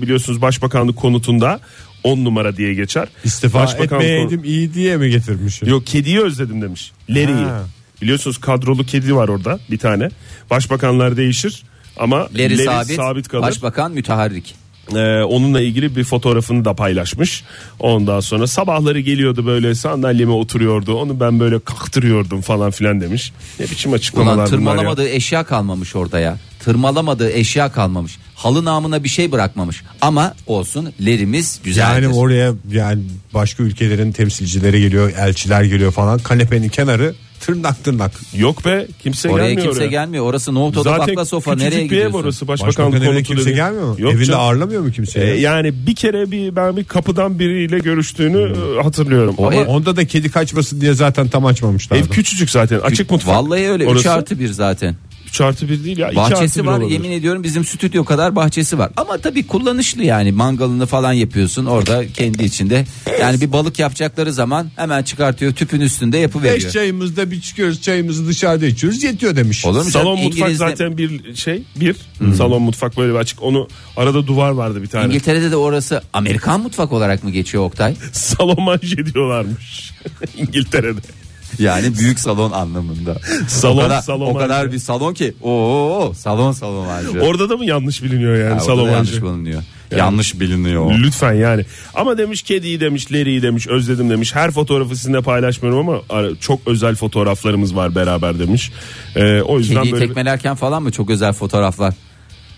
Speaker 4: biliyorsunuz başbakanlık konutunda 10 numara diye geçer.
Speaker 3: İstifa
Speaker 4: Başbakanlık
Speaker 3: etmeyeydim iyi diye mi getirmiş?
Speaker 4: Yok kediyi özledim demiş. Larry'i.
Speaker 3: Ha.
Speaker 4: Biliyorsunuz kadrolu kedi var orada bir tane. Başbakanlar değişir ama Larry,
Speaker 2: Leri sabit,
Speaker 4: sabit kalır.
Speaker 2: Başbakan müteharrik.
Speaker 4: Ee, onunla ilgili bir fotoğrafını da paylaşmış. Ondan sonra sabahları geliyordu böyle sandalyeme oturuyordu. Onu ben böyle kaktırıyordum falan filan demiş. Ne biçim açıklamalar
Speaker 2: Ulan
Speaker 4: bunlar ya.
Speaker 2: tırmalamadığı eşya kalmamış orada ya. Tırmalamadığı eşya kalmamış. Halı namına bir şey bırakmamış. Ama olsun lerimiz güzeldir.
Speaker 3: Yani oraya yani başka ülkelerin temsilcileri geliyor, elçiler geliyor falan. Kanepenin kenarı tırnak tırnak.
Speaker 4: Yok be kimse
Speaker 2: Oraya
Speaker 4: gelmiyor
Speaker 2: kimse
Speaker 4: oraya.
Speaker 2: gelmiyor. Orası nohutoda
Speaker 4: Zaten
Speaker 2: bakla sofa
Speaker 4: küçücük
Speaker 2: nereye
Speaker 4: bir ev
Speaker 2: gidiyorsun?
Speaker 4: orası başbakanlık
Speaker 3: Başbakan evine
Speaker 4: konutu
Speaker 3: kimse
Speaker 4: dedi.
Speaker 3: gelmiyor mu?
Speaker 4: Yok
Speaker 3: Evinde
Speaker 4: canım.
Speaker 3: ağırlamıyor mu kimse?
Speaker 4: Ee,
Speaker 3: E, ya?
Speaker 4: yani bir kere bir ben bir kapıdan biriyle görüştüğünü
Speaker 2: Hmm.
Speaker 4: e, hatırlıyorum.
Speaker 2: O
Speaker 4: Ama
Speaker 2: ev-
Speaker 3: Onda da kedi kaçmasın diye zaten tam açmamışlardı.
Speaker 4: ev küçücük zaten açık mutfak.
Speaker 2: Vallahi öyle 3
Speaker 4: Orası
Speaker 2: artı 1 zaten.
Speaker 4: 3 artı 1 değil ya. iki artı
Speaker 2: Bahçesi
Speaker 4: bir
Speaker 2: var
Speaker 4: olabilir.
Speaker 2: yemin ediyorum bizim stüdyo kadar bahçesi var. Ama tabii kullanışlı yani mangalını falan yapıyorsun orada kendi içinde. Yani bir balık yapacakları zaman hemen çıkartıyor tüpün üstünde yapıveriyor.
Speaker 3: Beş çayımızda bir çıkıyoruz çayımızı dışarıda içiyoruz yetiyor demiş.
Speaker 2: Olur mu?
Speaker 4: Salon
Speaker 2: canım?
Speaker 4: mutfak
Speaker 2: İngiliz'de-
Speaker 4: zaten bir şey bir salon mutfak böyle bir açık onu arada duvar vardı bir tane
Speaker 2: İngiltere'de de orası Amerikan mutfak olarak mı geçiyor Oktay?
Speaker 4: salon manje diyorlarmış İngiltere'de
Speaker 2: Yani büyük salon anlamında.
Speaker 4: Salon,
Speaker 2: o kadar,
Speaker 4: salon
Speaker 2: o kadar
Speaker 4: harcı.
Speaker 2: bir salon ki o salon salon harcı.
Speaker 4: orada da mı yanlış biliniyor yani
Speaker 2: Ha, orada
Speaker 4: salon
Speaker 2: da yanlış
Speaker 4: manje
Speaker 2: biliniyor. Yanlış biliniyor.
Speaker 4: lütfen yani ama demiş kediyi demiş Larry'i demiş özledim demiş her fotoğrafı sizinle paylaşmıyorum ama ara- çok özel fotoğraflarımız var beraber demiş Ee, o yüzden
Speaker 2: Kediyi
Speaker 4: böyle
Speaker 2: tekmelerken falan mı çok özel fotoğraflar?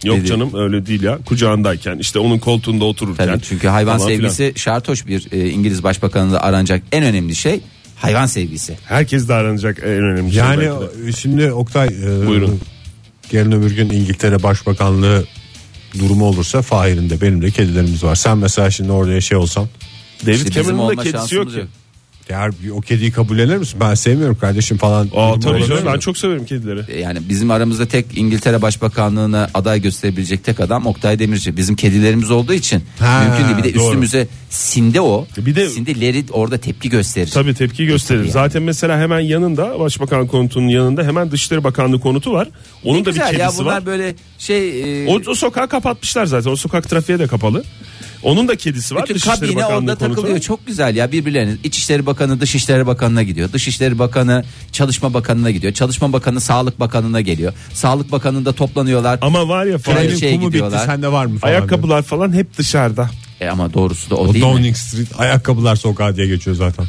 Speaker 4: yok
Speaker 2: dedi.
Speaker 4: canım öyle değil ya kucağındayken işte onun koltuğunda otururken
Speaker 2: Tabii çünkü hayvan
Speaker 4: falan filan.
Speaker 2: sevgisi şartoş bir e, İngiliz başbakanında aranacak en önemli şey hayvan sevgisi.
Speaker 4: herkes de aranacak en önemli şey
Speaker 3: Yani
Speaker 4: belki de.
Speaker 3: şimdi Oktay e,
Speaker 4: Buyurun.
Speaker 3: Yarın öbür gün İngiltere Başbakanlığı durumu olursa Fahir'in de benim de kedilerimiz var. Sen mesela şimdi oraya şey olsan
Speaker 4: David
Speaker 2: İşte bizim
Speaker 4: Cameron'ın da
Speaker 2: olma
Speaker 4: kedisi yok
Speaker 2: şansımız
Speaker 4: ki.
Speaker 3: eğer bir o kediyi kabullenir misin? Ben sevmiyorum kardeşim falan.
Speaker 4: Aa
Speaker 3: durumu
Speaker 4: tabii
Speaker 3: olabilir
Speaker 4: canım ben
Speaker 3: mi?
Speaker 4: çok severim kedileri.
Speaker 2: E, Yani bizim aramızda tek İngiltere Başbakanlığına aday gösterebilecek tek adam Oktay Demirci. Bizim kedilerimiz olduğu için
Speaker 3: Ha,
Speaker 2: mümkün değil. Bir de
Speaker 3: doğru.
Speaker 2: üstümüze sinde o.
Speaker 4: E, Bir de-
Speaker 2: sindeleri orada tepki gösterir.
Speaker 4: Tabii tepki gösterir. Zaten mesela hemen yanında Başbakan konutunun yanında hemen Dışişleri Bakanlığı konutu var. Onun
Speaker 2: Ne
Speaker 4: da bir
Speaker 2: güzel
Speaker 4: kedisi
Speaker 2: ya bunlar
Speaker 4: var.
Speaker 2: böyle şey e,
Speaker 4: O, o sokağı kapatmışlar zaten. O sokak trafiğe de kapalı. Onun da kedisi var.
Speaker 2: bütün
Speaker 4: Dışişleri
Speaker 2: kabine
Speaker 4: Bakanlığı
Speaker 2: orada
Speaker 4: konutu.
Speaker 2: takılıyor. Çok güzel ya birbirlerinin. İçişleri Bakanı Dışişleri Bakanı'na gidiyor. Dışişleri Bakanı Çalışma Bakanı'na gidiyor. Çalışma Bakanı Sağlık Bakanı'na geliyor. Sağlık Bakanı'nda toplanıyorlar.
Speaker 4: Ama var ya falan,
Speaker 2: Kraliçe-
Speaker 3: Benim
Speaker 2: şeye
Speaker 3: kumu
Speaker 2: gidiyorlar.
Speaker 3: bitti sende var mı falan. diyor.
Speaker 4: ayakkabılar falan hep dışarıda.
Speaker 2: E ama doğrusu da o,
Speaker 3: O
Speaker 2: değil mi?
Speaker 3: Downing Street ayakkabılar sokağı diye geçiyor zaten.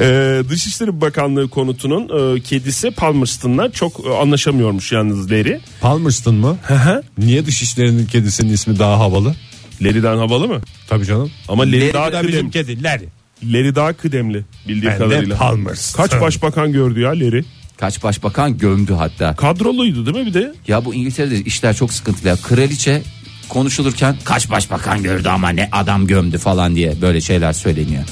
Speaker 4: Ee, Dışişleri Bakanlığı konutunun e, kedisi Palmerston'la çok e, anlaşamıyormuş yalnız Larry.
Speaker 3: Palmerston mı? Niye dışişlerinin kedisinin ismi daha havalı?
Speaker 4: Larry'den havalı mı?
Speaker 3: Tabii canım.
Speaker 4: Ama Larry,
Speaker 2: Larry
Speaker 4: daha
Speaker 3: da
Speaker 4: kıdemli.
Speaker 3: bizim kediler.
Speaker 4: Larry daha kıdemli bildiğim
Speaker 3: Ben de
Speaker 4: kadarıyla.
Speaker 3: Palmerston.
Speaker 4: Kaç başbakan gördü ya Larry?
Speaker 2: Kaç başbakan gömdü hatta.
Speaker 4: Kadroluydu değil mi bir de?
Speaker 2: Ya bu İngiltere'de işler çok sıkıntılı. Ya. Kraliçe konuşulurken kaç başbakan gördü ama ne adam gömdü falan diye böyle şeyler söyleniyor.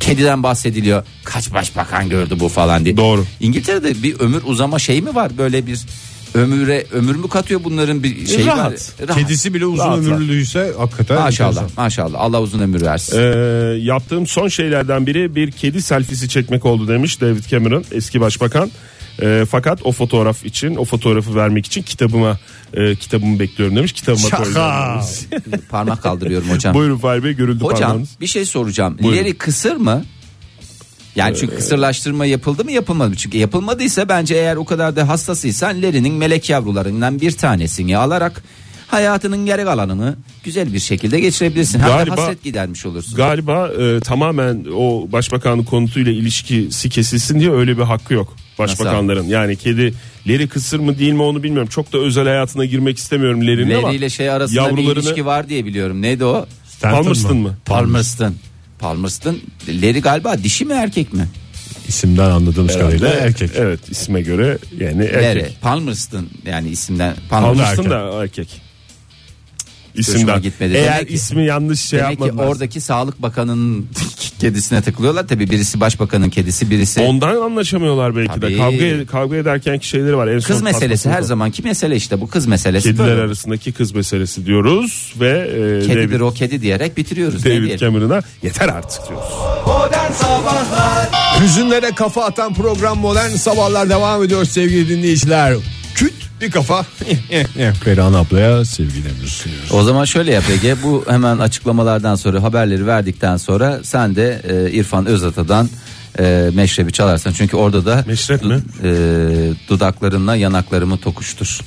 Speaker 2: Kediden bahsediliyor. Kaç başbakan gördü bu falan diye.
Speaker 4: Doğru.
Speaker 2: İngiltere'de bir ömür uzama şeyi mi var? Böyle bir ömüre ömür mü katıyor bunların bir şeyi
Speaker 4: Rahat.
Speaker 2: var? Rahat.
Speaker 3: Kedisi bile uzun
Speaker 4: Rahat, rahat.
Speaker 3: ömürlüyse hakikaten. enteresan.
Speaker 2: Maşallah maşallah Allah uzun ömür versin.
Speaker 4: Ee, yaptığım son şeylerden biri bir kedi selfisi çekmek oldu demiş David Cameron eski başbakan. E, fakat o fotoğraf için o fotoğrafı vermek için kitabıma e, kitabımı bekliyorum demiş. Kitabıma
Speaker 3: Şaka.
Speaker 4: koyacağım.
Speaker 2: Parmak kaldırıyorum hocam.
Speaker 4: Buyurun Fahir Bey görüldü
Speaker 2: hocam
Speaker 4: parmağınız.
Speaker 2: bir şey soracağım.
Speaker 4: Buyurun. Ee,
Speaker 2: Leri kısır mı? Yani çünkü kısırlaştırma yapıldı mı yapılmadı mı? Çünkü yapılmadıysa bence eğer o kadar da hassasıysan Leri'nin melek yavrularından bir tanesini alarak hayatının geri kalanını güzel bir şekilde geçirebilirsin. Hem de
Speaker 4: Galiba-
Speaker 2: hasret gidermiş olursun.
Speaker 4: Galiba e, tamamen o başbakanın konutuyla ilişkisi kesilsin diye öyle bir hakkı yok başbakanların. Yani kedileri kısır mı değil mi onu bilmiyorum. Çok da özel hayatına girmek istemiyorum Lerin ama.
Speaker 2: Leri ile şey arasında bir
Speaker 4: yavrularını-
Speaker 2: ilişki var diye biliyorum. Neydi o?
Speaker 4: Palmerston mı?
Speaker 2: Palmerston. Palmerston. Leri galiba dişi mi erkek mi?
Speaker 3: İsimden anladığımız kadarıyla
Speaker 4: Evet,
Speaker 3: erkek.
Speaker 4: Evet isme göre yani
Speaker 2: Leri.
Speaker 4: erkek.
Speaker 2: Palmerston yani isimden.
Speaker 4: Palmerston
Speaker 3: erkek.
Speaker 4: da erkek.
Speaker 2: Hoşuma
Speaker 4: İsimden.
Speaker 2: gitmedi.
Speaker 4: Eğer
Speaker 2: Demek ki-
Speaker 4: ismi yanlış şey
Speaker 2: Demek ki
Speaker 4: yapmadılar.
Speaker 2: oradaki Sağlık Bakanı'nın kedisine tıklıyorlar. Tabi birisi başbakanın kedisi birisi.
Speaker 4: Ondan anlaşamıyorlar belki
Speaker 2: Tabii.
Speaker 4: de. Kavga kavga ederken ki şeyleri var. En son
Speaker 2: kız meselesi
Speaker 4: patlasın.
Speaker 2: her zamanki mesele işte bu kız meselesi.
Speaker 4: Kediler
Speaker 2: Böyle.
Speaker 4: arasındaki kız meselesi diyoruz ve e,
Speaker 2: Kedidir
Speaker 4: David,
Speaker 2: o kedi diyerek bitiriyoruz. Ne
Speaker 4: David
Speaker 2: diyelim?
Speaker 4: Cameron'a yeter artık diyoruz.
Speaker 3: Hüzünlere kafa atan program Modern Sabahlar devam ediyor sevgili dinleyiciler. Küt bir kafa. Perihan ablaya sevgilerimizi sunuyoruz.
Speaker 2: o zaman şöyle yap Ege bu hemen açıklamalardan sonra haberleri verdikten sonra sen de e, İrfan Özata'dan e, meşrebi çalarsın. Çünkü orada da
Speaker 4: Meşrep
Speaker 2: du-
Speaker 4: mi?
Speaker 2: e, dudaklarınla yanaklarımı tokuştur.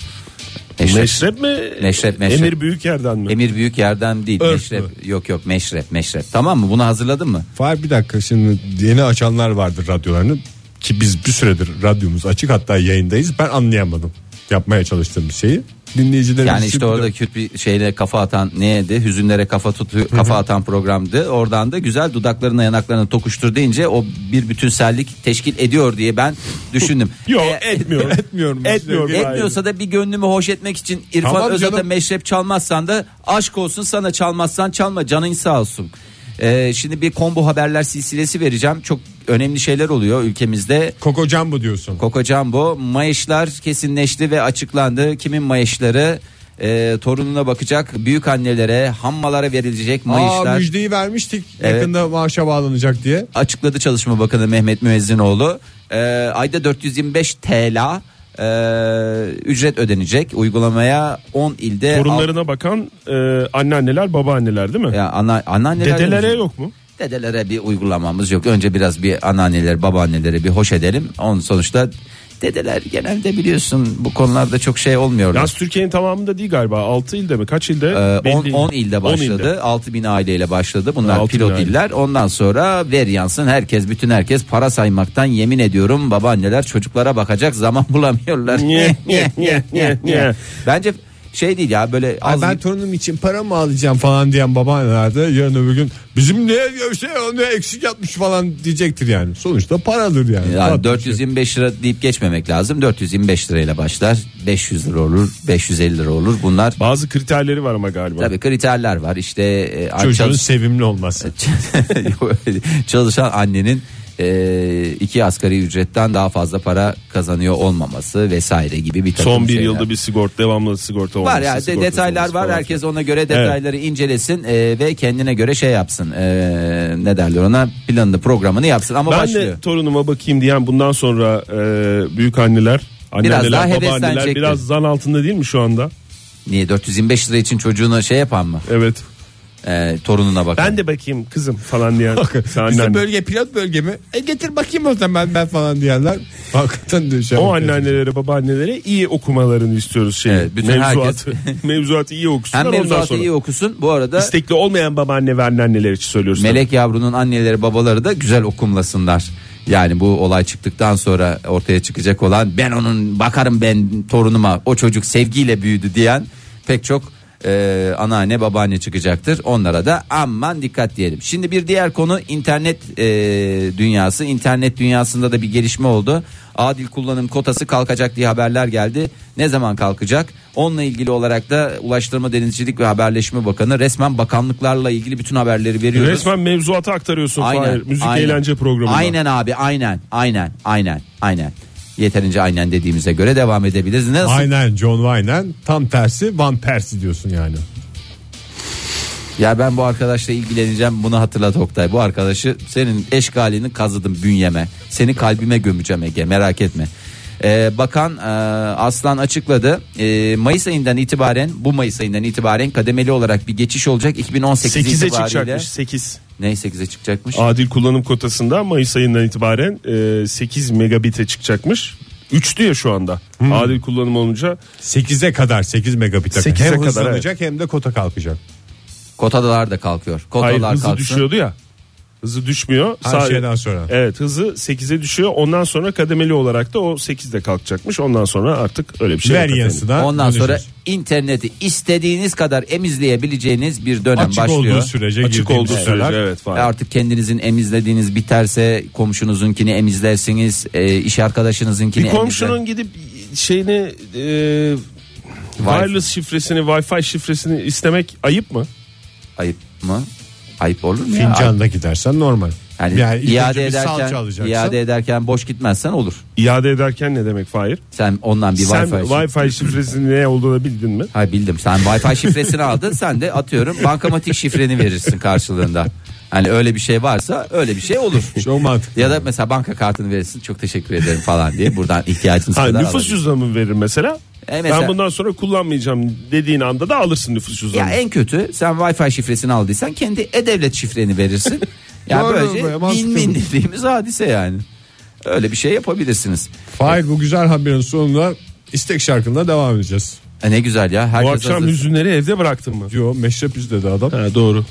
Speaker 2: Meşrep.
Speaker 4: Meşrep mi?
Speaker 2: Meşrep, meşrep.
Speaker 4: Emir Büyüker'den mi?
Speaker 2: Emir büyük yerden değil.
Speaker 3: Örf
Speaker 2: meşrep. Yok yok meşrep meşrep. Tamam mı? Bunu hazırladın mı?
Speaker 3: Fahir bir dakika şimdi yeni açanlar vardır radyolarını ki biz bir süredir radyomuz açık hatta yayındayız ben anlayamadım yapmaya çalıştığımız şeyi dinleyicilerimiz
Speaker 2: Yani işte
Speaker 3: için bir
Speaker 2: orada
Speaker 3: de-
Speaker 2: kürt bir şeyle kafa atan neydi? Hüzünlere kafa tutu kafa atan programdı. Oradan da güzel dudaklarına yanaklarına tokuştur deyince o bir bütünsellik teşkil ediyor diye ben düşündüm.
Speaker 4: Yok
Speaker 2: E,
Speaker 4: etmiyor.
Speaker 3: Etmiyorum.
Speaker 4: Etmiyor.
Speaker 2: Etmiyorsa da bir gönlümü hoş etmek için İrfan
Speaker 3: Tamam
Speaker 2: Özat'a
Speaker 3: canım.
Speaker 2: meşrep çalmazsan da aşk olsun sana çalmazsan çalma canın sağ olsun. E, şimdi bir combo haberler silsilesi vereceğim. Çok önemli şeyler oluyor ülkemizde.
Speaker 3: Koko Jumbo diyorsun.
Speaker 2: Coco Jumbo mayışlar kesinleşti ve açıklandı. Kimin mayışları? Ee, torununa bakacak büyük annelere, hammalara verilecek
Speaker 3: Aa
Speaker 2: mayışlar.
Speaker 3: müjdeyi vermiştik
Speaker 2: Evet.
Speaker 3: yakında maaşa bağlanacak diye.
Speaker 2: Açıkladı Çalışma Bakanı Mehmet Müezzinoğlu. Ee, ayda 425 TL e, ücret ödenecek. Uygulamaya 10 ilde
Speaker 4: Torunlarına bakan e, anneanneler, babaanneler değil mi?
Speaker 2: al- ya ana, anneanneler
Speaker 4: Dedelere yok mu?
Speaker 2: Dedelere bir uygulamamız yok. Önce biraz bir anneanneler, babaannelere bir hoş edelim. Onun sonuçta dedeler genelde biliyorsun bu konularda çok şey olmuyorlar.
Speaker 4: Yalnız Türkiye'nin tamamında değil galiba. 6 ilde mi? Kaç ilde? Belli
Speaker 2: 10
Speaker 4: değil.
Speaker 2: Ee, ilde
Speaker 4: 10
Speaker 2: başladı. 6000 aileyle başladı. Bunlar
Speaker 4: 6 bin
Speaker 2: pilot
Speaker 4: aile.
Speaker 2: iller. Ondan sonra ver yansın herkes bütün herkes para saymaktan yemin ediyorum babaanneler çocuklara bakacak zaman bulamıyorlar.
Speaker 4: Niye, niye, niye, niye, niye?
Speaker 2: Bence şey değil ya böyle
Speaker 3: Ay
Speaker 2: az
Speaker 3: ben torunum için para mı alacağım falan diyen babaanneler de yarın öbür gün bizim ne şey ne eksik yapmış falan diyecektir yani. Sonuçta paradır yani.
Speaker 2: yani
Speaker 3: Yapmış
Speaker 2: 425 lira deyip geçmemek lazım. 425 lirayla başlar. 500 lira olur, 550 lira olur. Bunlar
Speaker 4: Bazı kriterleri var ama galiba.
Speaker 2: tabii kriterler var. İşte e,
Speaker 3: şey. Çocuğun
Speaker 2: çalış-
Speaker 3: sevimli olması.
Speaker 2: çalışan annenin e, iki asgari ücretten daha fazla para kazanıyor olmaması vesaire gibi bir takım
Speaker 4: Son bir
Speaker 2: şeyler.
Speaker 4: yılda bir sigorta, devamlı sigorta olması.
Speaker 2: şey var ya de-
Speaker 4: sigortası
Speaker 2: detaylar
Speaker 4: olması
Speaker 2: var
Speaker 4: falan.
Speaker 2: herkes ona göre detayları incelesin e, ve kendine göre şey yapsın E, ne derler ona planını programını yapsın ama
Speaker 4: Ben
Speaker 2: başlıyor.
Speaker 4: de torunuma bakayım diyen bundan sonra e, büyük anneler,
Speaker 2: Biraz daha
Speaker 4: anneanneler, babaanneler
Speaker 2: heveslenecektir.
Speaker 4: biraz zan altında değil mi şu anda?
Speaker 2: Niye 425 lira için çocuğuna şey yapan mı
Speaker 4: Evet.
Speaker 2: E, torununa bakın.
Speaker 4: Ben de bakayım kızım falan diyen. sen
Speaker 3: Bizim
Speaker 4: anneanne.
Speaker 3: bölge pilot bölge mi? E getir bakayım o zaman ben falan diyenler. Hakikaten de şey
Speaker 4: O
Speaker 3: yapıyor.
Speaker 4: anneannelere babaannelere iyi okumalarını istiyoruz şey.
Speaker 2: Evet, bütün
Speaker 4: mevzuatı, mevzuatı iyi okusunlar
Speaker 2: Hem
Speaker 4: ondan
Speaker 2: mevzuatı
Speaker 4: sonra.
Speaker 2: iyi okusun bu arada
Speaker 4: İstekli olmayan babaanne ve anneanneler için söylüyoruz.
Speaker 2: Melek yavrunun anneleri babaları da güzel okumlasınlar. Yani bu olay çıktıktan sonra ortaya çıkacak olan ben onun bakarım ben torunuma o çocuk sevgiyle büyüdü diyen pek çok e, anneanne babaanne çıkacaktır. Onlara da aman dikkat diyelim. Şimdi bir diğer konu internet e, dünyası. İnternet dünyasında da bir gelişme oldu. Adil kullanım kotası kalkacak diye haberler geldi. Ne zaman kalkacak? Onunla ilgili olarak da Ulaştırma Denizcilik ve Haberleşme Bakanı resmen bakanlıklarla ilgili bütün haberleri veriyor
Speaker 4: Tabii.
Speaker 2: yapıyoruz.
Speaker 4: Resmen mevzuatı aktarıyorsun Fahir. Müzik
Speaker 2: aynen.
Speaker 4: eğlence programında.
Speaker 2: Aynen abi aynen aynen aynen aynen. Yeterince aynen dediğimize göre devam edebiliriz. Nasıl?
Speaker 3: Aynen John Wayne'en tam tersi Van Persie diyorsun yani.
Speaker 2: Ya ben bu arkadaşla ilgileneceğim bunu hatırlat Oktay. Bu arkadaşı senin eşkalini kazıdım bünyeme. Seni kalbime gömeceğim Ege merak etme. Ee, bakan e, Aslan açıkladı. Ee, Mayıs ayından itibaren bu Mayıs ayından itibaren kademeli olarak bir geçiş olacak. 2018
Speaker 4: 8'e
Speaker 2: itibariyle.
Speaker 4: çıkacakmış 8.
Speaker 2: Ne 8'e çıkacakmış?
Speaker 4: Adil kullanım kotasında Mayıs ayından itibaren e, 8 megabit'e çıkacakmış. 3'tü ya şu anda.
Speaker 2: Hmm.
Speaker 4: Adil kullanım olunca
Speaker 3: 8'e kadar 8 megabit'e kadar.
Speaker 4: 8'e
Speaker 3: Hem
Speaker 4: kadar,
Speaker 3: hızlanacak hem de kota kalkacak.
Speaker 2: Kotalar da kalkıyor. Kotalar
Speaker 4: hayır hızı
Speaker 2: kalksın.
Speaker 4: düşüyordu ya. Hızı düşmüyor.
Speaker 3: Her şeyden sonra.
Speaker 4: Evet hızı 8'e düşüyor. Ondan sonra kademeli olarak da o 8'de kalkacakmış. Ondan sonra artık öyle bir şey.
Speaker 3: Ver
Speaker 4: yok efendim.
Speaker 3: yanısına.
Speaker 2: Ondan sonra
Speaker 3: döneceğiz.
Speaker 2: interneti istediğiniz kadar emizleyebileceğiniz bir dönem
Speaker 3: açık
Speaker 2: başlıyor.
Speaker 3: olduğu sürece
Speaker 4: Açık
Speaker 3: girdiğimiz
Speaker 4: olduğu
Speaker 3: süreler.
Speaker 4: sürece evet
Speaker 2: Ve
Speaker 4: falan.
Speaker 2: Artık kendinizin emizlediğiniz biterse komşunuzunkini emizlersiniz, e, iş arkadaşınızınkini
Speaker 4: Bir komşunun gidip şeyini e, wireless şifresini, wifi şifresini istemek ayıp mı?
Speaker 2: emizler. Ayıp mı? Ayıp olur mu? ya?
Speaker 3: Fincanda gidersen normal.
Speaker 2: Yani,
Speaker 3: ilk önce
Speaker 2: iade
Speaker 3: bir salça
Speaker 2: ederken
Speaker 3: alacaksın.
Speaker 2: iade ederken boş gitmezsen olur.
Speaker 4: İade ederken ne demek Fahir?
Speaker 2: Sen ondan bir
Speaker 4: Sen
Speaker 2: Wi-Fi. şif-
Speaker 4: Wi-Fi şifresinin ne olduğunu bildin mi?
Speaker 2: Ha bildim. Sen Wi-Fi şifresini aldın. Sen de atıyorum bankamatik şifreni verirsin karşılığında. Hani öyle bir şey varsa öyle bir şey olur.
Speaker 3: Çok mantıklı.
Speaker 2: Ya da mesela banka kartını verirsin. Çok teşekkür ederim falan diye buradan ihtiyacınız
Speaker 4: Ha,
Speaker 2: kadar
Speaker 4: nüfus
Speaker 2: alabilirsin.
Speaker 4: cüzdanımı verir mesela.
Speaker 2: E, mesela-
Speaker 4: Ben bundan sonra kullanmayacağım dediğin anda da alırsın nüfus
Speaker 2: Ya e-
Speaker 4: cüzdanını.
Speaker 2: en kötü sen Wi-Fi şifresini aldıysan kendi e-devlet şifreni verirsin. ya
Speaker 3: Doğru,
Speaker 2: böylece
Speaker 3: böyle
Speaker 2: min
Speaker 3: mantıklı.
Speaker 2: min dediğimiz hadise yani. Öyle bir şey yapabilirsiniz.
Speaker 3: Fahir bu güzel haberin sonunda istek şarkınla devam edeceğiz.
Speaker 2: E ne güzel ya.
Speaker 4: Bu
Speaker 2: Herkes
Speaker 4: akşam
Speaker 2: hazır.
Speaker 4: hüzünleri evde bıraktın mı?
Speaker 3: Yo meşrep izledi adam.
Speaker 4: Ha, doğru.